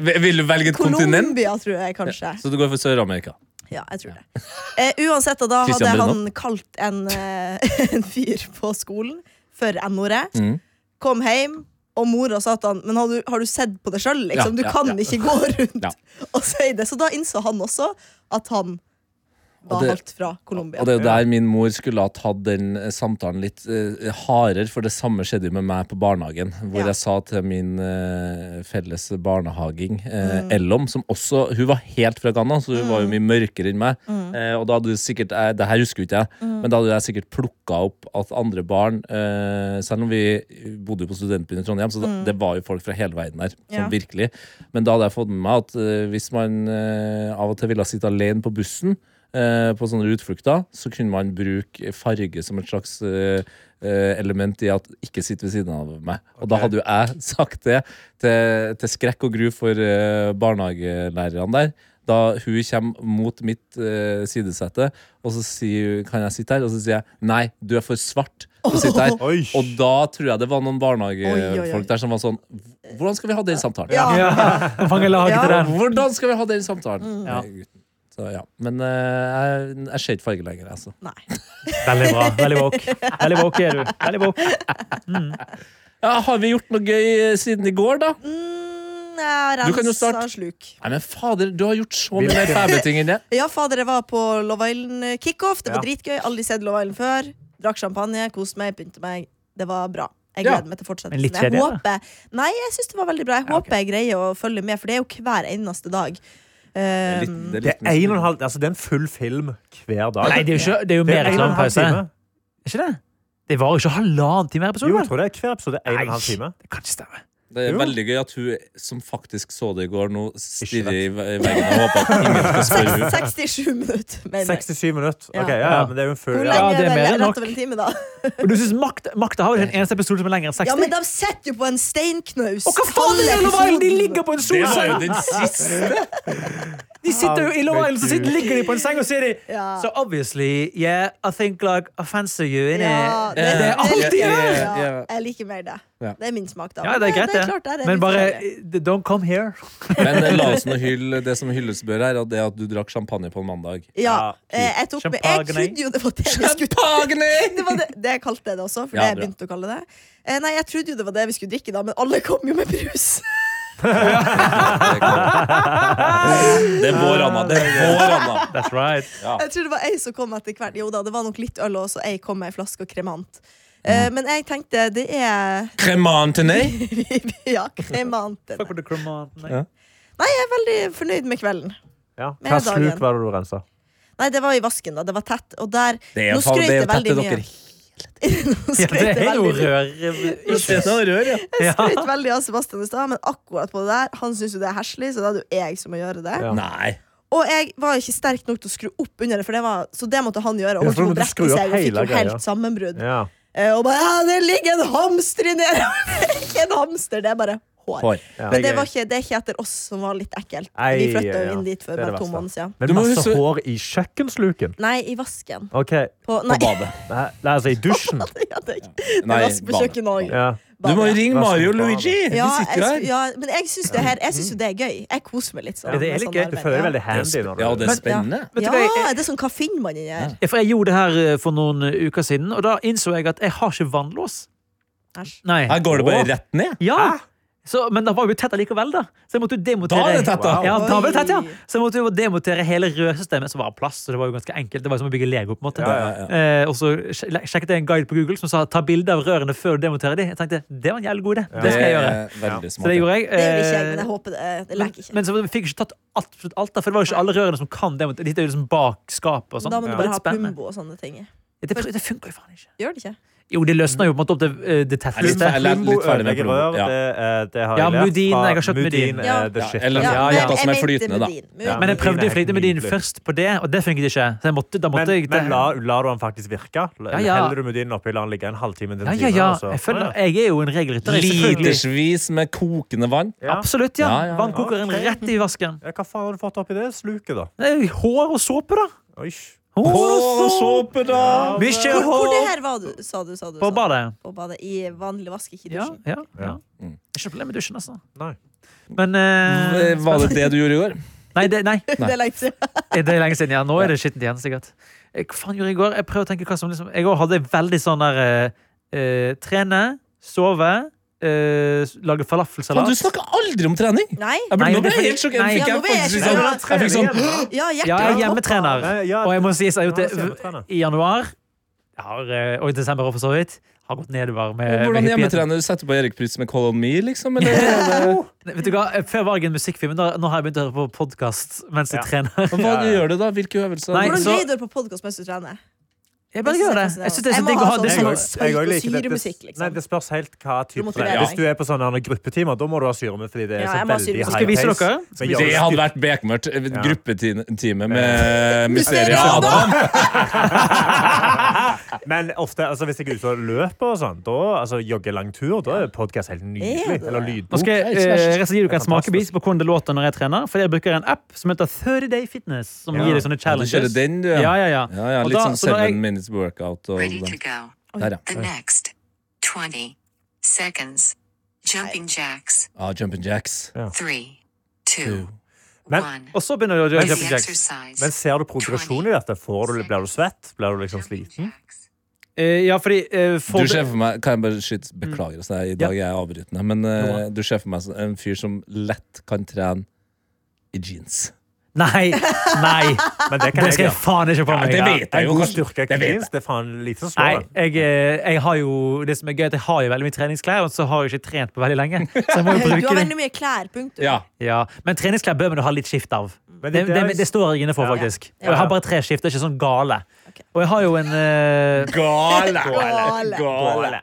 Vil vil du velge et kontinent? Colombia, tror jeg kanskje. Så du går for Sør-Amerika? Ja, jeg tror det. Eh, uansett, da, da hadde Christian han kalt en, eh, en fyr på skolen for n-ordet. Mm. Kom hjem, og mora sa til han Men har du, har du sett på det sjøl? Liksom? Ja, Du ja, kan ja. ikke gå rundt Ja. og si det. Så da innså han også at han da Og det- alt fra Colombia. Og det er jo der min mor skulle ha tatt den eh, samtalen litt eh, hardere, for det samme skjedde jo med meg på barnehagen, hvor Ja. jeg sa til min eh, felles barnehaging, eh, Mm. Ellom, som også Hun var helt fra Ghana, så hun var jo mye mørkere enn meg. Mm. Eh, og da hadde du sikkert jeg, Det her husker jo ikke jeg, men da hadde jeg sikkert plukka opp at andre barn eh, Selv om vi bodde jo på studentbyen i Trondheim, så da, det var jo folk fra hele verden her. Sånn Mm. Ja. virkelig. Men da hadde jeg fått med meg at eh, hvis man eh, av og til ville sitte alene på bussen, eh, på sånne utflukter, så kunne man bruke farge som et slags eh, eh, element i at ikke sitt ved siden av meg. Og da hadde jo jeg sagt det til, til skrekk og gru for eh, barnehagelærerne der. Da hun kommer mot mitt eh, sidesette, og så sier hun kan jeg sitte her, og så sier jeg nei, du er for svart til å sitte her. Oi. Og da tror jeg det var noen Oi, oi, oi. barnehagefolk der som var sånn Hvordan skal vi ha den samtalen? Ja. Ja, fanger laget til den. Hvordan skal vi ha den samtalen? Mm. Ja. Med gutten. Så, ja. Men eh, jeg, jeg ser ikke farge lenger, altså. Nei. Veldig bra. Veldig woke. Veldig woke er du. Veldig woke. Ja, har vi gjort noe gøy eh, siden i går, da? Mm, Du jeg kan jo rensa starte. sluk. Nei, men fader, du har gjort så mye mer fæbeting enn det. Ja, fader, jeg var på Love Island eh, kickoff. Det var Ja. dritgøy. Aldri sett Love Island før. Drakk champagne, koste meg, pynte meg. Det var bra. Jeg Ja. gleder meg til Men litt fortsettelsen. Jeg kjedelig, håper Nei, jeg syns det var veldig bra. Jeg håper jeg greier å følge med, for det er jo hver eneste dag. Eh, Det er en og en halv Altså, det er en full film hver dag. Nei, det er jo, ikke, det er jo Det er en mer og en halv reklamepause. time. Er Ikke det? Det varer jo ikke halvannen time Jo, hver episode. jeg vel? tror det er hver episode en og en halv Nei, time. Det kan ikke stemme. Det er Jo. veldig gøy at hun som faktisk så det i går, nå stirrer i ve- i veggen og håper at ingen skal spørre henne. 67 Eh, minutter, mener jeg. 67 minutter. Ja. Ok, ja, ja, men det er jo en full Hvor ja. Ja, lenge det er er det? mer enn nok. Rett over en time, da? Og du syns makta, makta har jo den eneste episoden som er lengre enn 60? Ja, men de sitter jo på en steinknaus. og hva faen er det i Love Island? De ligger på en Det var solseng! jo den siste! De sitter jo i Love Island, så sitter, ligger de på en seng og sier de Ja. So obviously, yeah, I think like I fancy you in Ja, it. Det, er alltid det- det! Ja, ja, ja. Jeg liker mer det. Ja. Det er min smak, da. Ja, det er greit, det. eh, klart, det er Men litt bare eh, forskjellig. Don't come here. Men eh, la oss nå hylle det som hylles bør her, og det er at du drakk champagne på en mandag. Ja. Ja, eh, Jeg tok med Jeg Champagne. trodde jo det var det vi skulle Det var det, det jeg kalte jeg det også, for Ja, det jeg bra. begynte å kalle det. Eh, Nei, jeg trodde jo det var det vi skulle drikke, da, men alle kom jo med brus. Det er vår, Anna. Det er vår, Anna. That's right. Jeg tror det var ei som kom etter hvert. Jo da, det var nok litt øl og så ei kom med ei flaske og kremant. Eh, Men jeg tenkte det er Cremantene. Ja, kremanten. Fuck with the cremant. Nei. Ja. Jeg er veldig fornøyd med kvelden. Ja. Med Hva dagen. sluk var det du rensa? Nei, det var i vasken, da. Det var tett. Og der Det er Nå jo faen- skrøt det er jeg jo tett veldig til mye. dere. Nå Ja, skrøt det jeg er jo veldig mye. rør... eh, Jeg skrøt veldig av Sebastian i stad, men akkurat på det der Han syns jo det er heslig, så da er det jo jeg som må gjøre det. Ja. Nei. Og jeg var ikke sterk nok til å skru opp under det, for det var, så det måtte han gjøre. Og Ja, hun for tok du og måtte skru brekte opp seg og fikk hele jo greia. helt sammenbrudd. Ja. Eh, Og bare, ja, 'Det ligger en hamster inni her!' Det er ikke en hamster, det er bare hår. Hår. Men det, var ikke, det er ikke etter oss som var litt ekkelt. Ei, Vi flytta ja. jo inn dit for Det er det bare to verste. måneder siden. Du Men må masse huske- hår i kjøkkensluken. Nei, i vasken. OK. På, nei, badet. Nei, altså i dusjen. ja, det er ikke- Nei, vask på badet. kjøkkenet òg. Ja. Du må jo ringe Badet. Mario og Luigi. De Ja, jeg, sitter jo sy- her. ja, men jeg syns det, her, jeg synes jo det er gøy. Jeg koser meg litt. Sånn, Ja, det er med litt sånn Du gøy. arbeid, føler deg ja. veldig handy når du Ja, og det er Men- spennende. Vet du hva, jeg- Ja, det er sånn Hva finner man inni her? Ja, For jeg gjorde det her eh, for noen eh, uker siden, og da innså jeg at jeg har ikke vannlås. Æsj. Nei. Her går det bare rett ned. Ja. Så, men den var jo tett allikevel, da. Så jeg måtte jo Da demontere er det tett, da. Ja, da var det Oi. tett, ja. Så jeg måtte jo demontere hele rødsystemet, som var det plass. Så det var jo ganske enkelt. Det var jo som å bygge Lego. på en måte Ja, ja, ja. eh, Og så sj- sjekket jeg en guide på Google som sa ta bilde av rørene før du demonterer de. Jeg tenkte det var en jævlig god idé. Det skal jeg gjøre. er Veldig Så det smart. gjorde jeg. Det gjør ikke jeg, eh, men jeg håper det, det men, leker ikke. men så fikk jeg ikke tatt absolutt alt, da, for det var jo ikke alle rørene som kan demontere. De er jo liksom bak skapet og sånn. Da må du Det var bare litt ha spennende. Plumbo og sånne ting. Det, det funker jo faen ikke. Gjør det ikke? Jo, det løsner jo på en måte opp det, eh, det Jeg er litt tetteste. ferdig- jeg er litt ferdig med Ødelegger rør, plommen. Ja. det, eh, det har jeg Ja, lært. Mudin, fra jeg har kjøpt Mudin. Mudin. Ja. eh, the Ja, shit. eller- Ja. Ja, ja. men som er jeg mente flytende, da. Medin. Men- Ja. Men jeg prøvde å Mudin er flyte helt med din nydelig. først på det, og det funket ikke. Så jeg måtte, da måtte Men, jeg men la, lar du han faktisk virke? Ja, ja. Heller du Mudin oppi, lar han ligge en halvtime til Ja, en ja, time? Altså. ja. og så- Jeg, føler, jeg er jo en regelrytter. jeg, selvfølgelig. Litersvis med kokende vann. Ja. Absolutt, ja. Ja, ja, ja. Vannkokeren Ok. rett i vasken. Ja, Hva faen har du fått oppi det sluket, da? Det er jo Hår og såpe, da. Oi. Hår Hår og såpe, da! Mye Hvor, hvor det hår her var du, sa du? Sa du på sa du. badet. På badet. I vanlig vask, ikke i Ja, dusjen. ja, ja. Ja. Mm. Ikke noe problem med dusjen, altså. Nei. Men eh, Var det det du gjorde i går? Nei, det, nei. Eh, Det er lenge siden. Det er lenge siden. Ja, nå er det skittent igjen, sikkert. Eh, Hva faen gjorde jeg i går? Jeg prøver å tenke hva som liksom Jeg òg hadde veldig sånn der eh, eh, Trene, sove, eh, Faen, lage falafelsalat. du snakker aldri om trening! Nei? Jeg ble, Nei, nå ble jeg det er fordi- helt sjokkert. Nei. Fikk Ja, jeg nå ble jeg faktisk sjokkert. sånn- jeg fikk sånn Ja, hjertet Ja, jeg er hjemmetrener. Nei, ja, Og jeg må si så jeg har Ja, gjort hjemmetrener. det i januar. Jeg har, eh, og i desember også, for så vidt. Har gått nedover med, Hvordan med hyppigheten. hjemmetrener du setter på Erik Prytz med Colon Me, liksom? Eller? Eh, Vet du hva, Før var jeg en musikkfilm, men da, nå har jeg begynt å høre på podkast mens jeg Ja. trener. Hva gjør du da? Hvilke øvelser? Nei, Hvordan så- greier du å høre på podkast mens du trener? Jeg bare gjør det. Jeg synes det er så digg å ha Jeg må ha det sånn. som Jeg Nei, også- jeg også liker dette. syremusikk, liksom. Nei, det spørs helt hva Du må type motivere Hvis du er på sånne gruppetimer, da må du ha syre med, fordi det er Ja, så jeg må ha veldig syremusikk. high Skal jeg vise pace. dere? Men Det gjør- hadde vært bekmørkt. Eh, Gruppetime med Mysteriet Mysteriet Adam. Men ofte, altså, hvis jeg er ute og løper og sånn, da, altså jogger lang tur, da er podkast helt Er nydelig. det det? Eller Nå lydbok. skal jeg eh, rett og slett gi dere en fantastisk. smakebit på hvordan det låter når jeg trener. For jeg bruker en app som heter 30 Day Fitness, som Ja. gir deg sånne Ja, du challenges. kjører den, du, ja. Ja, ja, ja. Ja, ja, Og litt da- sånn så da er jeg- seven minutes workout. Og Ready to go. der, ja. The next 20 seconds. Jumping jacks. Ah, Jumpin' Jacks. Three, two, Men- one. Og så begynner du å Do gjøre the jumping jacks. exercise. Men ser du progresjon i dette? Får du, blir du svett? Blir du liksom Jumping sliten? jacks. Eh, Ja, fordi eh, for Du ser for meg Kan jeg bare skyte Beklager, altså, jeg, i dag er jeg avbrytende. Men eh, du ser for meg som en fyr som lett kan trene i jeans. Nei! Nei! Men det kan Det jeg skal jeg gjøre. faen ikke på meg. det Ja. vet jeg En jo. god kanskje. styrke i Det vet cleans, det er faen lite som Nei, slår. det. jeg, eh, jeg har jo Det som er gøy, er at jeg har jo veldig mye treningsklær, og så har jeg ikke trent på veldig lenge. Så jeg må jo Du bruke har det. veldig mye klær, punktum. Ja. Ja, Men treningsklær bør man jo ha litt skift av. Mm. Men Det, det- det, det står jeg inne for, Ja. faktisk. Ja. Og jeg har bare tre skift, det er ikke sånn gale. Og jeg har jo en eh, Gale! Gale. Gale. Hva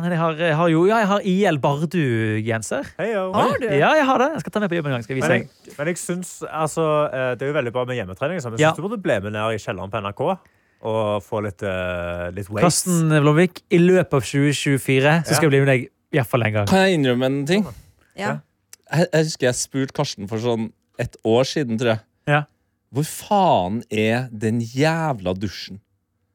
faen er det jeg har? Jeg har jo Ja, jeg har IL Bardu-genser. Hei, jo. Har du? Ja, jeg har det. Jeg skal ta med på jobb en gang. skal jeg vise Men deg. jeg, men jeg syns altså, eh, Det er jo veldig bra med hjemmetrening, liksom. men jeg Ja. syns du burde bli med ned i kjelleren på NRK og få litt, uh, litt weights. Karsten Blomvik, i løpet av 2024 så skal jeg bli med deg iallfall en gang. Kan jeg innrømme en ting? Ja. Jeg, jeg husker jeg spurte Karsten for sånn et år siden, tror jeg. Ja. Hvor faen er den jævla dusjen?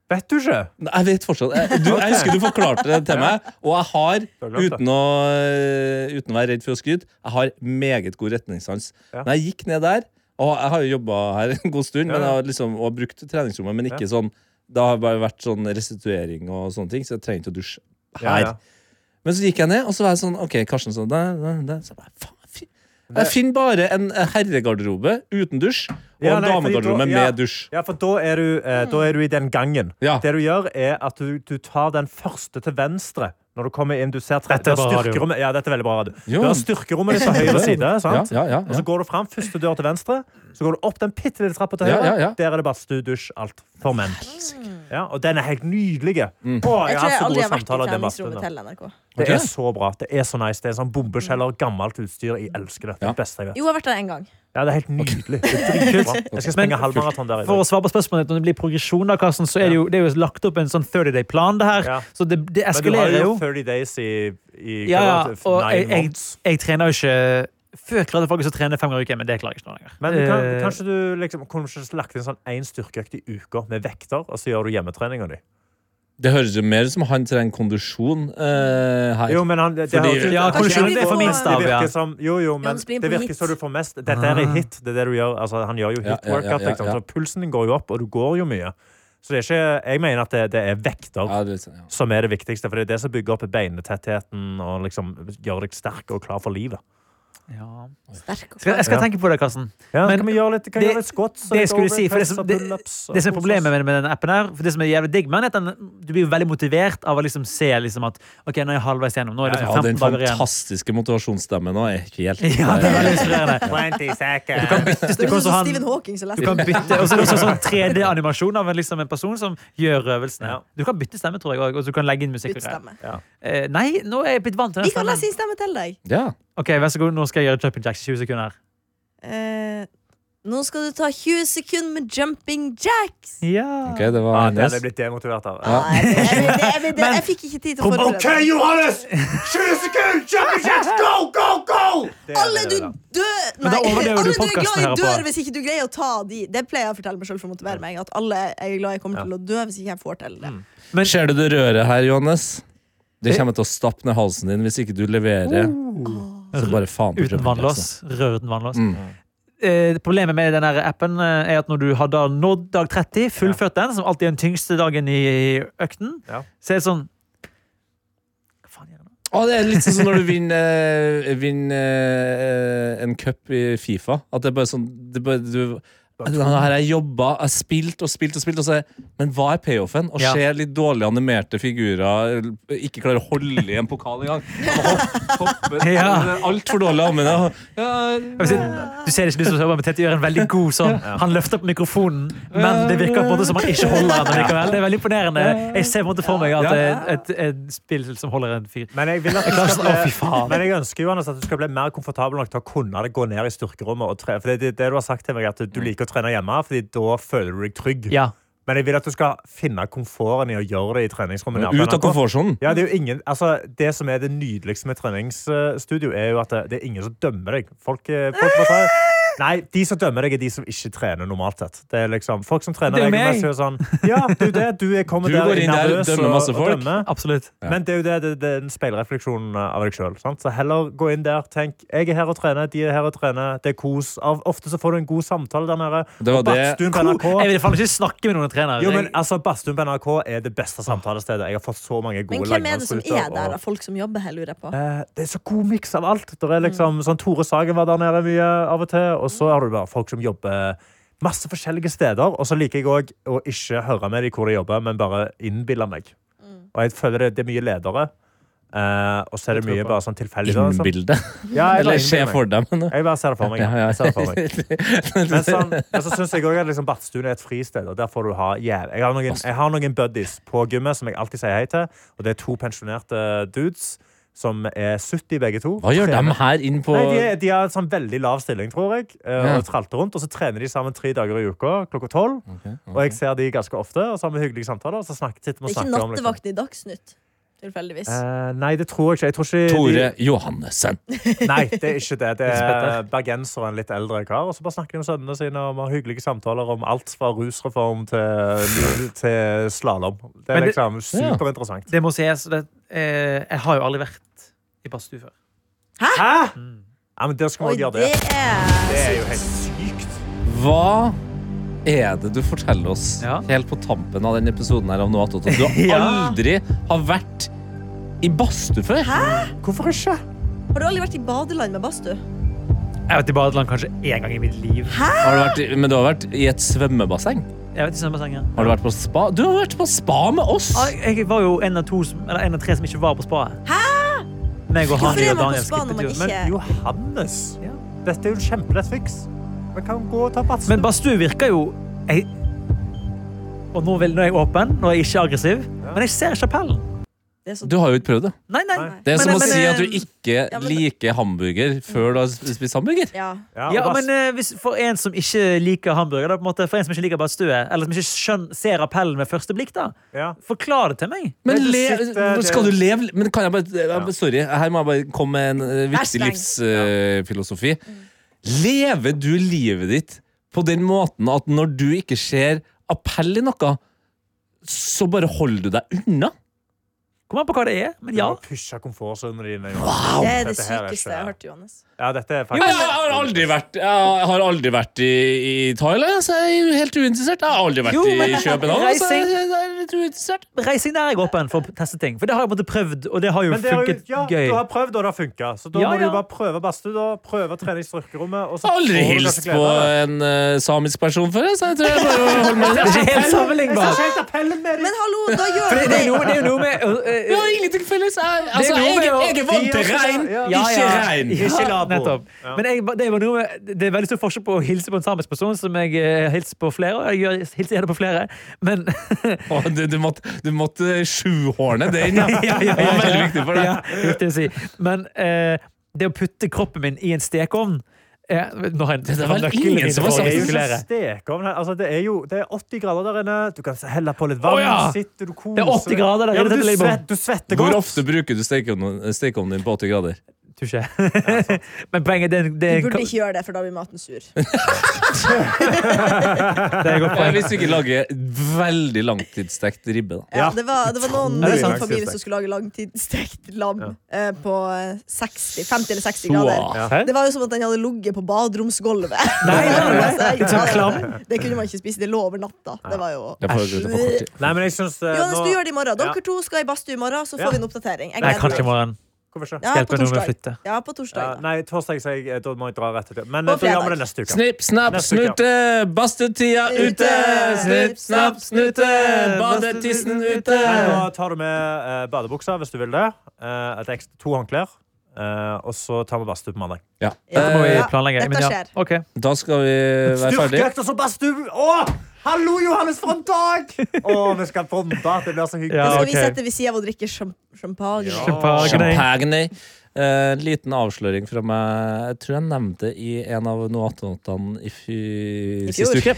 Vet du ikke? Nei, Jeg vet fortsatt jeg, du, jeg husker du forklarte det til meg, og jeg har, har glemt det. uten å, eh, uten å være redd for å skryte, jeg har meget god retningssans. Ja. Når jeg gikk ned der, og jeg har jo jobba her en god stund, men ja. jeg har liksom, og har brukt treningsrommet, men ikke sånn Det har bare vært sånn restituering og sånne ting, så jeg trenger ikke å dusje her. Ja, ja. Men så gikk jeg ned, og så var jeg sånn OK, Karsten sånn der, der, der. Så jeg bare, faen, fy- Jeg finner bare en eh, herregarderobe uten dusj, og Ja, en nei, fordi damegarderobe da- ja. med dusj. Ja, for da er du, eh, da er du i den gangen. Ja. Det du gjør, er at du, du tar den første til venstre. Når du kommer inn, du ser tre, Dette er du har bra radio. styrkerommet- Ja, dette er veldig bra radio. Jo. Du har styrkerommet ditt på høyre side. sant? Altså- Ja, ja, ja, ja. Og så går du fram første dør til venstre, så går du opp den bitte lille trappa til Ja, høyre. ja, ja. Der er det badstue, dusj, alt for menn. Ja, og den er helt nydelig. Å, Jeg jeg har tror hatt jeg så aldri gode har vært i samtaler i den treningsrommet badstuen. til NRK. Det Mm. Ok. er så bra. Det er så nice. Det er sånn bombekjeller, gammelt utstyr. Jeg elsker dette. Ja. Det beste jeg vet. Mm. Jo, jeg har vært der en gang. Ja, det er helt nydelig. Det er dritbra. Jeg skal Men- springe halvmaraton der i For dag. å svare på spørsmålet ditt om det blir progresjon, da, Karsten, så er det jo, det er jo lagt opp en sånn 30 day-plan, det her. Ja. Så det, det Men du har eskalerer jo. jo 30 days i, i Ja, ja. hva var det, Og e- nine jeg, jeg, months. jeg trener jo ikke Før klarte jeg faktisk å trene fem ganger i uken, men det klarer jeg ikke nå lenger. Men du kan, Eh, kanskje du liksom, kunne du ikke lagt inn sånn én styrkeøkt i uka med vekter, og så gjør du hjemmetreninga di? Det høres jo mer ut som han trenger kondisjon eh, her. Jo, men han, det, det Fordi- høres ut- Ja, Kanskje kondisjonen jeg det er blir for min på- stav, det ja. Ah. virker som, jo, jo, men Jonas blir på det virker hit. som du får mest Dette her er hit. Det er det du gjør. Altså, han gjør jo Ja, hit ja, ja, workout, ja, liksom, ja. så pulsen din går jo opp, og du går jo mye. Så det er ikke, jeg mener at det, det er vekter Ja, det, sånn, ja. som er det viktigste, for det er det som bygger opp beinetettheten og liksom gjør deg sterk og klar for livet. ja. Sterk og Skal, jeg skal Ja. tenke på det, Karsten. Ja, Men kan vi gjøre litt, kan vi det- gjøre litt squats? og det litt skulle jeg si, for det som- overheads og det- pull-ups og Det som er kose problemet oss. med, med den appen her, for det som er jævlig digg med den, er at den, du blir jo veldig motivert av å liksom se liksom at OK, nå er jeg halvveis gjennom. Nå er det ja, liksom den 15 dager igjen. fantastiske motivasjonsstemmen nå er ikke helt Ja, det er veldig inspirerende. 20 seconds. Hvis Det du er kan så sånn han- Stephen Hawking som Du kan leser. bytte, og så er det også sånn 3D-animasjon av en, liksom, en person som gjør øvelsene. Ja. Du kan bytte stemme, tror jeg også, og så kan du legge inn musikk. og greier. Utstemme. Eh, nei, nå er jeg blitt vant til den Vi kan stemmen. lese inn stemme til deg. Ja. Ok, Vær så god, nå skal jeg gjøre jumping jacks i 20 sekunder. Eh, nå skal du ta 20 sekunder med jumping jacks. Ja. Ok, det var Ja, det hennes. hadde jeg blitt demotivert av. Nei, jeg, vet- jeg, vet- jeg, vet- jeg fikk ikke tid til å forberede meg. Johannes! 20 sekunder! Jumping jacks! Go, go, go! Det er Alle det, du det er det. dør Nei, Men da overlever du alle du er podcasten glad i her på- dør hvis ikke du greier å ta de. Det pleier jeg å fortelle meg selv for å motivere meg. At alle jeg er glad jeg kommer til å dø hvis ikke jeg får til det. Mm. Ser du det røret her, Johannes? Det Eh. kommer til å stappe ned halsen din hvis ikke du leverer. Oh. Så bare faen altså. Uten vannlås. Rør uten vannlås. Mm. Eh, problemet med den her appen eh, er at når du har da nådd dag 30, fullført den, som alltid er den tyngste dagen i økten, Ja. så er det sånn Hva faen gjør jeg nå? Å, det er litt sånn som når du vinner, eh, vinner eh, en cup i Fifa. At det er bare sånn det er bare, du, Her har jeg jobba, jeg har spilt og spilt og spilt, og så, er- men hva er payoffen? Å Ja. se litt dårlig animerte figurer eh, ikke klare å holde i en pokal engang. Hopp- Hoppe Ja. Altfor dårlig anvendt. Ja, ja, Jeg vil si, Du ser det ikke du som jobber med Tete gjør en veldig god sånn. Han løfter opp mikrofonen, men det virker på en måte som han ikke holder den likevel. Det er veldig imponerende. Jeg ser på en måte for meg at det er et, et spill som holder en fyr. Men jeg, vil at du skal Å, fy bli, faen. men jeg ønsker jo Anders, at du skal bli mer komfortabel nok til å kunne det gå ned i styrkerommet. Og tre, for det, det, det du har sagt til meg, at du liker å trene hjemme, Fordi da føler du deg trygg. Ja. Men jeg vil at du skal finne komforten i å gjøre det i treningsrommet. nede på Ut av NRK. komfortsonen. Ja, det, er jo ingen, altså, det som er det nydeligste med treningsstudio, er jo at det, det er ingen som dømmer deg. Folk, eh, folk bare sier, Nei, de som dømmer deg, er de som ikke trener normalt sett. Det er liksom, folk som trener Det er jo regelmessig meg. og sånn Ja, du, det, du er- kommer Du der går inn der, nervøs dømmer og- masse og folk. dømmer. Absolutt. Men det er jo det, det, det er en speilrefleksjon av deg sjøl. Så heller gå inn der, tenk jeg er her og trener, de er her og trener, det er kos. Av, ofte så får du en god samtale der nede. Det var Og det- Badstuen på NRK Jeg vil faen ikke snakke med noen trener. jo, men Jeg- altså, Badstuen på NRK er det beste samtalestedet. Jeg har fått så mange Men gode hvem er det som langrennsruter, er der og- av folk som jobber her, lurer jeg på? Eh, Det er så god miks av alt. Der er liksom, sånn, Tore Sagen var der nede mye av og til. Og så har du bare folk som jobber masse forskjellige steder. Og så liker jeg òg å ikke høre med dem hvor de jobber, men bare innbille meg. Og jeg føler det, det er mye ledere. eh, og så er det mye bare sånn tilfeldig. da, sånn. Innbilde. Ja, jeg, Eller bare se innbiller for meg. deg, men eh, jeg bare ser det for meg. Ja, ja. Jeg ser det for meg. Men, sånn, men så syns jeg òg at liksom Badstuen er et fristed. Og der får du ha jæv- jeg, har noen, jeg har noen buddies på gymmet som jeg alltid sier hei til. Og det er to pensjonerte dudes som er 70 begge to. Hva gjør Trener- de her inn på Nei, de, er- de har en sånn veldig lav stilling, tror jeg. eh, Ja. Og tralter rundt, og så trener de sammen tre dager i uka klokka tolv. Og jeg ser de ganske ofte, og så har vi hyggelige samtaler. Og så snakker, sitter Det vi og er ikke snakker om liksom. nattevakten i Dagsnytt, tilfeldigvis. Eh, nei, det tror jeg ikke. Jeg tror ikke Tore Johannessen? De, nei, det er ikke det. Det er bergenser og en litt eldre kar. Og så bare snakker de om sønnene sine og vi har hyggelige samtaler om alt fra rusreform til, til slalåm. Det Men er det- liksom superinteressant. Det må sies, det, eh, jeg har jo aldri vært i badstue før. Hæ?! Ja, men der Oi, skal vi også gjøre det det. Det er er jo helt sykt. Hva er det du forteller oss Ja. helt på tampen av denne episoden her av Noe attåt? at Du har Ja. aldri har vært i badstue før? Hvorfor ikke? Har du aldri vært i badeland med badstue? Jeg har vært i badeland kanskje én gang i mitt liv. Har du vært, i- men du har vært i et svømmebasseng? Jeg har vært i svømmebasseng, ja. Har du vært på spa? Du har vært på spa med oss! Ja, Jeg var jo en av, to som, eller en av tre som ikke var på spaet. Hæ? Meg og Hvorfor Hani er og man på Daniel spa når skippet man jo. Men, ikke Johannes! Ja. Dette er jo en kjempelett fiks. Vi kan gå og ta badstue. men badstue virker jo jeg, Og nå, vil, nå er jeg åpen, nå er jeg ikke aggressiv. Men jeg ser ikke appellen. Det er så Du har jo ikke prøvd det. Nei, nei. Nei. Det er Men- som å men- si at du eh, ikke ja, men- liker hamburger før du har spist hamburger. Ja. Ja, Ja, og men badstue- eh, hvis, For en som ikke liker hamburger, da, på en måte, for en som ikke liker badstue, eller som ikke skjønn, ser appellen ved første blikk, da, ja. forklar det til meg. Men, Men du le, sitter- det- skal du leve Men kan jeg bare jeg bare- Sorry, her må jeg bare komme med en eh, viktig Hashtag. livsfilosofi. Lever du livet ditt på den måten at når du ikke ser appell i noe, så bare holder du deg unna? Kom an på hva det er, men Du ja. må pushe komfortsonene dine. Det er det Dette her er sykeste jeg ikke- har hørt, Johannes. Ja, dette er Jo, faktisk jeg har aldri vært, jeg har aldri vært i, i Thailand, så jeg er jo helt uinteressert. Jeg har aldri vært Jo, men- i København, så jeg reising. er litt uinteressert. Reising der er jeg åpen for å teste ting, for det har jeg på en måte prøvd, og det har jo Men det har, funket jo- ja, gøy. du har prøvd, og det har funka. Så da Ja, ja. må du bare prøve badstue. da. Prøve å trene i styrkerommet. Og så Jeg har aldri får du hilst kanskje på glede av det. en eh, samisk person før, så jeg tror jeg bare holder meg Det er ikke helt Jeg sammenlignbart. ser ikke helt appellen med Men hallo, da gjør Det du det det! er noe, det er noe med øh, øh, Vi har ingenting felles. Jeg, altså, noe jeg, med å- jeg er vant til regn, ja, ikke ja. regn. Ikke Ja, labo. nettopp. Ja. Men jeg, det, var noe med, det er veldig stor forskjell på å hilse på en samisk person, som jeg eh, hilser på flere. og Jeg gjør, hilser gjerne på flere, men Å, du, du måtte, du måtte sjuhårne den, ja. Ja, ja, ja, Det var veldig ja. viktig for deg. Ja, viktig å si. Men eh, det å putte kroppen min i en stekeovn eh, nå har jeg, Det er vel ingen som har for å sagt Det er jo ikke gestikulere. stekeovn her. Altså, det er jo det er 80 grader der inne. Du kan helle på litt Å, vann. ja. Sitter du koser Det er 80 deg. grader der Ja, inne, men du, dette livet. svett, du svetter Hvor godt. ofte bruker du stekeovnen stekeovnen din på 80 grader? Tusje. Men poenget det er, det Du er, burde ikke gjøre det, for da blir maten sur. det er et godt Ja, poeng. hvis du ikke lager veldig langtidsstekt ribbe, da. Ja, det, var, det var noen Er det i sant? min familie som skulle lage langtidsstekt lam eh, på eh, 60, 50 eller 60 grader. Så, Hæ? Det var jo som at den hadde ligget på baderomsgulvet. Nei, nei, nei. Altså, Litt sånn klam. Det kunne man ikke spise. Det lå over natta. Det var jo Det får jeg gå ut på kort tid. Nei, men jeg syns eh, Johannes, nå- du gjør det i morgen. Ja. Dere to skal i badstue i morgen, så Ja. får vi en oppdatering. Jeg Nei, gleder kanskje i meg. morgen. Hvorfor ikke? Ja, Hjelp på meg nå med å torsdag. flytte. Ja, på torsdag. Ja, da. nei, torsdag sier jeg eh, Da må jeg dra rett etter. Men På eh, da gjør fredag. vi det neste uke. Snipp, snapp, Neste uke. snute, badstuetida ute! Snipp, snapp, snute, badetissen ute! Nei, da tar du med eh, badebuksa hvis du vil det. Eh, et ekstra to håndklær. Eh, og så tar vi badstue på mandag. Ja. eh, Dette må vi Ja, planlegge. dette Men ja, skjer. ok. Da skal vi Eh, være ferdige. Styrkeøkt og så badstue! Å! Hallo, Johannes, for en dag! Å, vi skal bombe. Det blir så hyggelig. Da skal vi ok. sette ved siden av og drikke sjam- champagne. Champagne. Champagne. Eh, liten avsløring fra meg. Jeg tror jeg nevnte i en av noatonotene i, fy... I fjor. sist uke.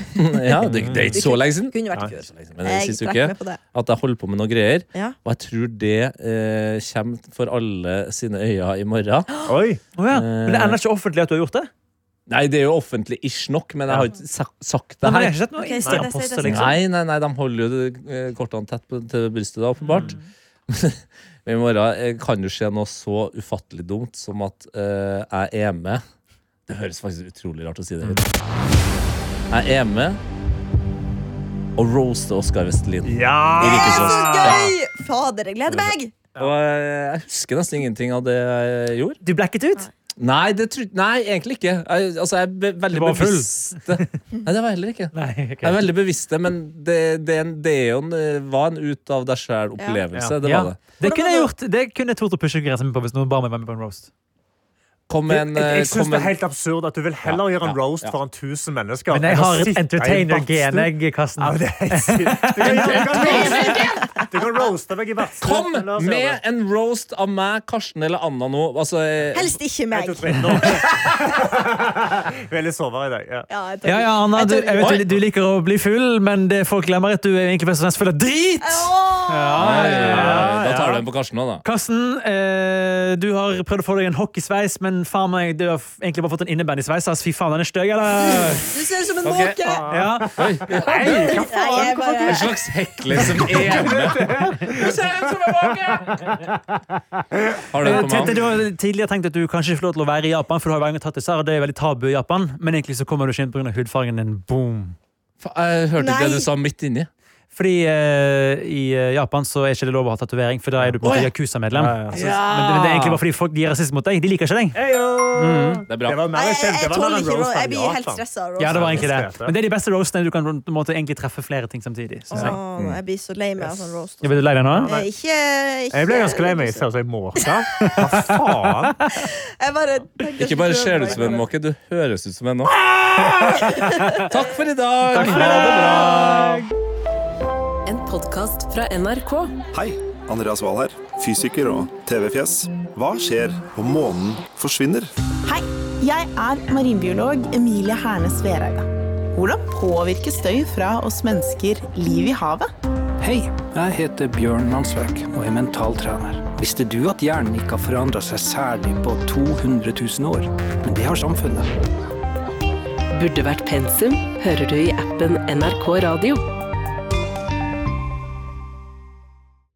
ja, det, det er ikke så lenge siden. Kunne Nei, vært i fjor. så lenge siden, Men det er Jeg sist trakk uke med på det. at jeg holder på med noen greier. Ja. Og jeg tror det eh, kommer for alle sine øyne i morgen. Oi. Å ja. Men det ender ikke offentlig at du har gjort det? Nei, Eh, det er jo offentlig ish nok, men jeg har ikke sa- sagt Nei, det men jeg her. har ikke sett noe Ok, si det, si det, Instagram-poster, si det. liksom. Nei, nei, nei, de holder jo eh, kortene tett på, til brystet, da, åpenbart. Mm. Men i morgen eh, kan jo skje noe så ufattelig dumt som at eh, jeg er med Det høres faktisk utrolig rart å si Mm. det. Jeg er med og roaster Oskar Vestelin. Ja! Det er Ikke så sant? gøy! Fader, jeg gleder meg! Og eh, jeg husker nesten ingenting av det jeg gjorde. Du blacket ut? Nei, det tro- nei egentlig ikke. Jeg, altså, jeg er be veldig Du var full. bevisst. Nei, det var jeg heller ikke. Nei, ok. Jeg er veldig bevisst, det, men det, det, er en- det er jo en, eh, var en ut av deg sjæl-opplevelse. Det Ja. var det. Det kunne jeg gjort. Det kunne jeg tort å pushe grensen min på hvis noen ba meg være med på en roast. Kom Jeg, en, jeg, eh, jeg syns kom det er en helt absurd at du vil heller Ja, gjøre en ja, roast ja. foran 1000 mennesker. Men jeg enn å har sitte i et en entertainer-gen, badstue. jeg, Karsten. Ja, men det er helt sykt. Du kan gjøre- du kan roaste- Du kan roaste meg i badstue. Kom La oss gjøre med det. en roast av meg, Karsten eller Anna nå. Altså, eh, Helst ikke En, meg. to, tre, nå. Veldig sårbar i dag. Ja. Ja, jeg tør Ja, ja, ikke. Anna, Jeg du, tør jeg ikke. vet, du, du liker å bli full, men det folk glemmer, er at du er egentlig først og fremst full av drit! Åh! Ja, eh, ja, ja, Da tar du ja. en på Karsten òg, da. Karsten, eh, du har prøvd å få deg en hockeysveis, men faen meg, du har f- egentlig bare fått en innebandysveis. Altså, fy faen, den er støg, eller? Du ser ut som en Ok. måke! Ja. Nei, jeg bare- En slags hekler som er med. Du ser ut som en måke! Har du Eh, den på Tete, meg? du har tidligere tenkt at du kanskje ikke får lov til å være i Japan, for du har jo en gang tatt dessert, og det er veldig tabu i Japan, men egentlig så kommer du ikke inn pga. hudfargen din. Boom. Fa- Jeg hørte ikke Nei. det du sa midt inni. Fordi eh, i eh, Japan så er ikke det lov å ha tatovering, for da er du på en måte Yakuza-medlem. Så- Men, det- men det er egentlig bare fordi folk de er rasistiske mot deg. De liker ikke deg. Det er Det bra. var mer Nei, jeg, kjent. jeg Det var tåler mer en ikke roast roast. enn Jeg blir helt Japan. stressa av roast. Ja, det var det egentlig det. diskrete. Men det er de beste roastene du kan på en måte egentlig treffe flere ting samtidig. Synes jeg. Åh, jeg blir så lei meg av sånn roast. Jeg ble du lei deg nå? Eh, Ikke, ikke Jeg ble ganske lei meg. Jeg Ser ut som en måke. Hva faen? Jeg bare tenker Ikke bare så ser du ut som en måke, du høres ut som en nå. Takk for i dag! Ha det bra! En podkast fra NRK. Hei, Andreas Wahl her, fysiker og TV-fjes. Hva skjer om månen forsvinner? Hei, jeg er marinbiolog Emilie Hernes Vereide. Hvordan påvirker støy fra oss mennesker liv i havet? Hei, jeg heter Bjørn Mansverk og er mentaltrener. Visste du at hjernen ikke har forandra seg særlig på 200 000 år? Men det har samfunnet. Burde vært pensum, hører du i appen NRK Radio.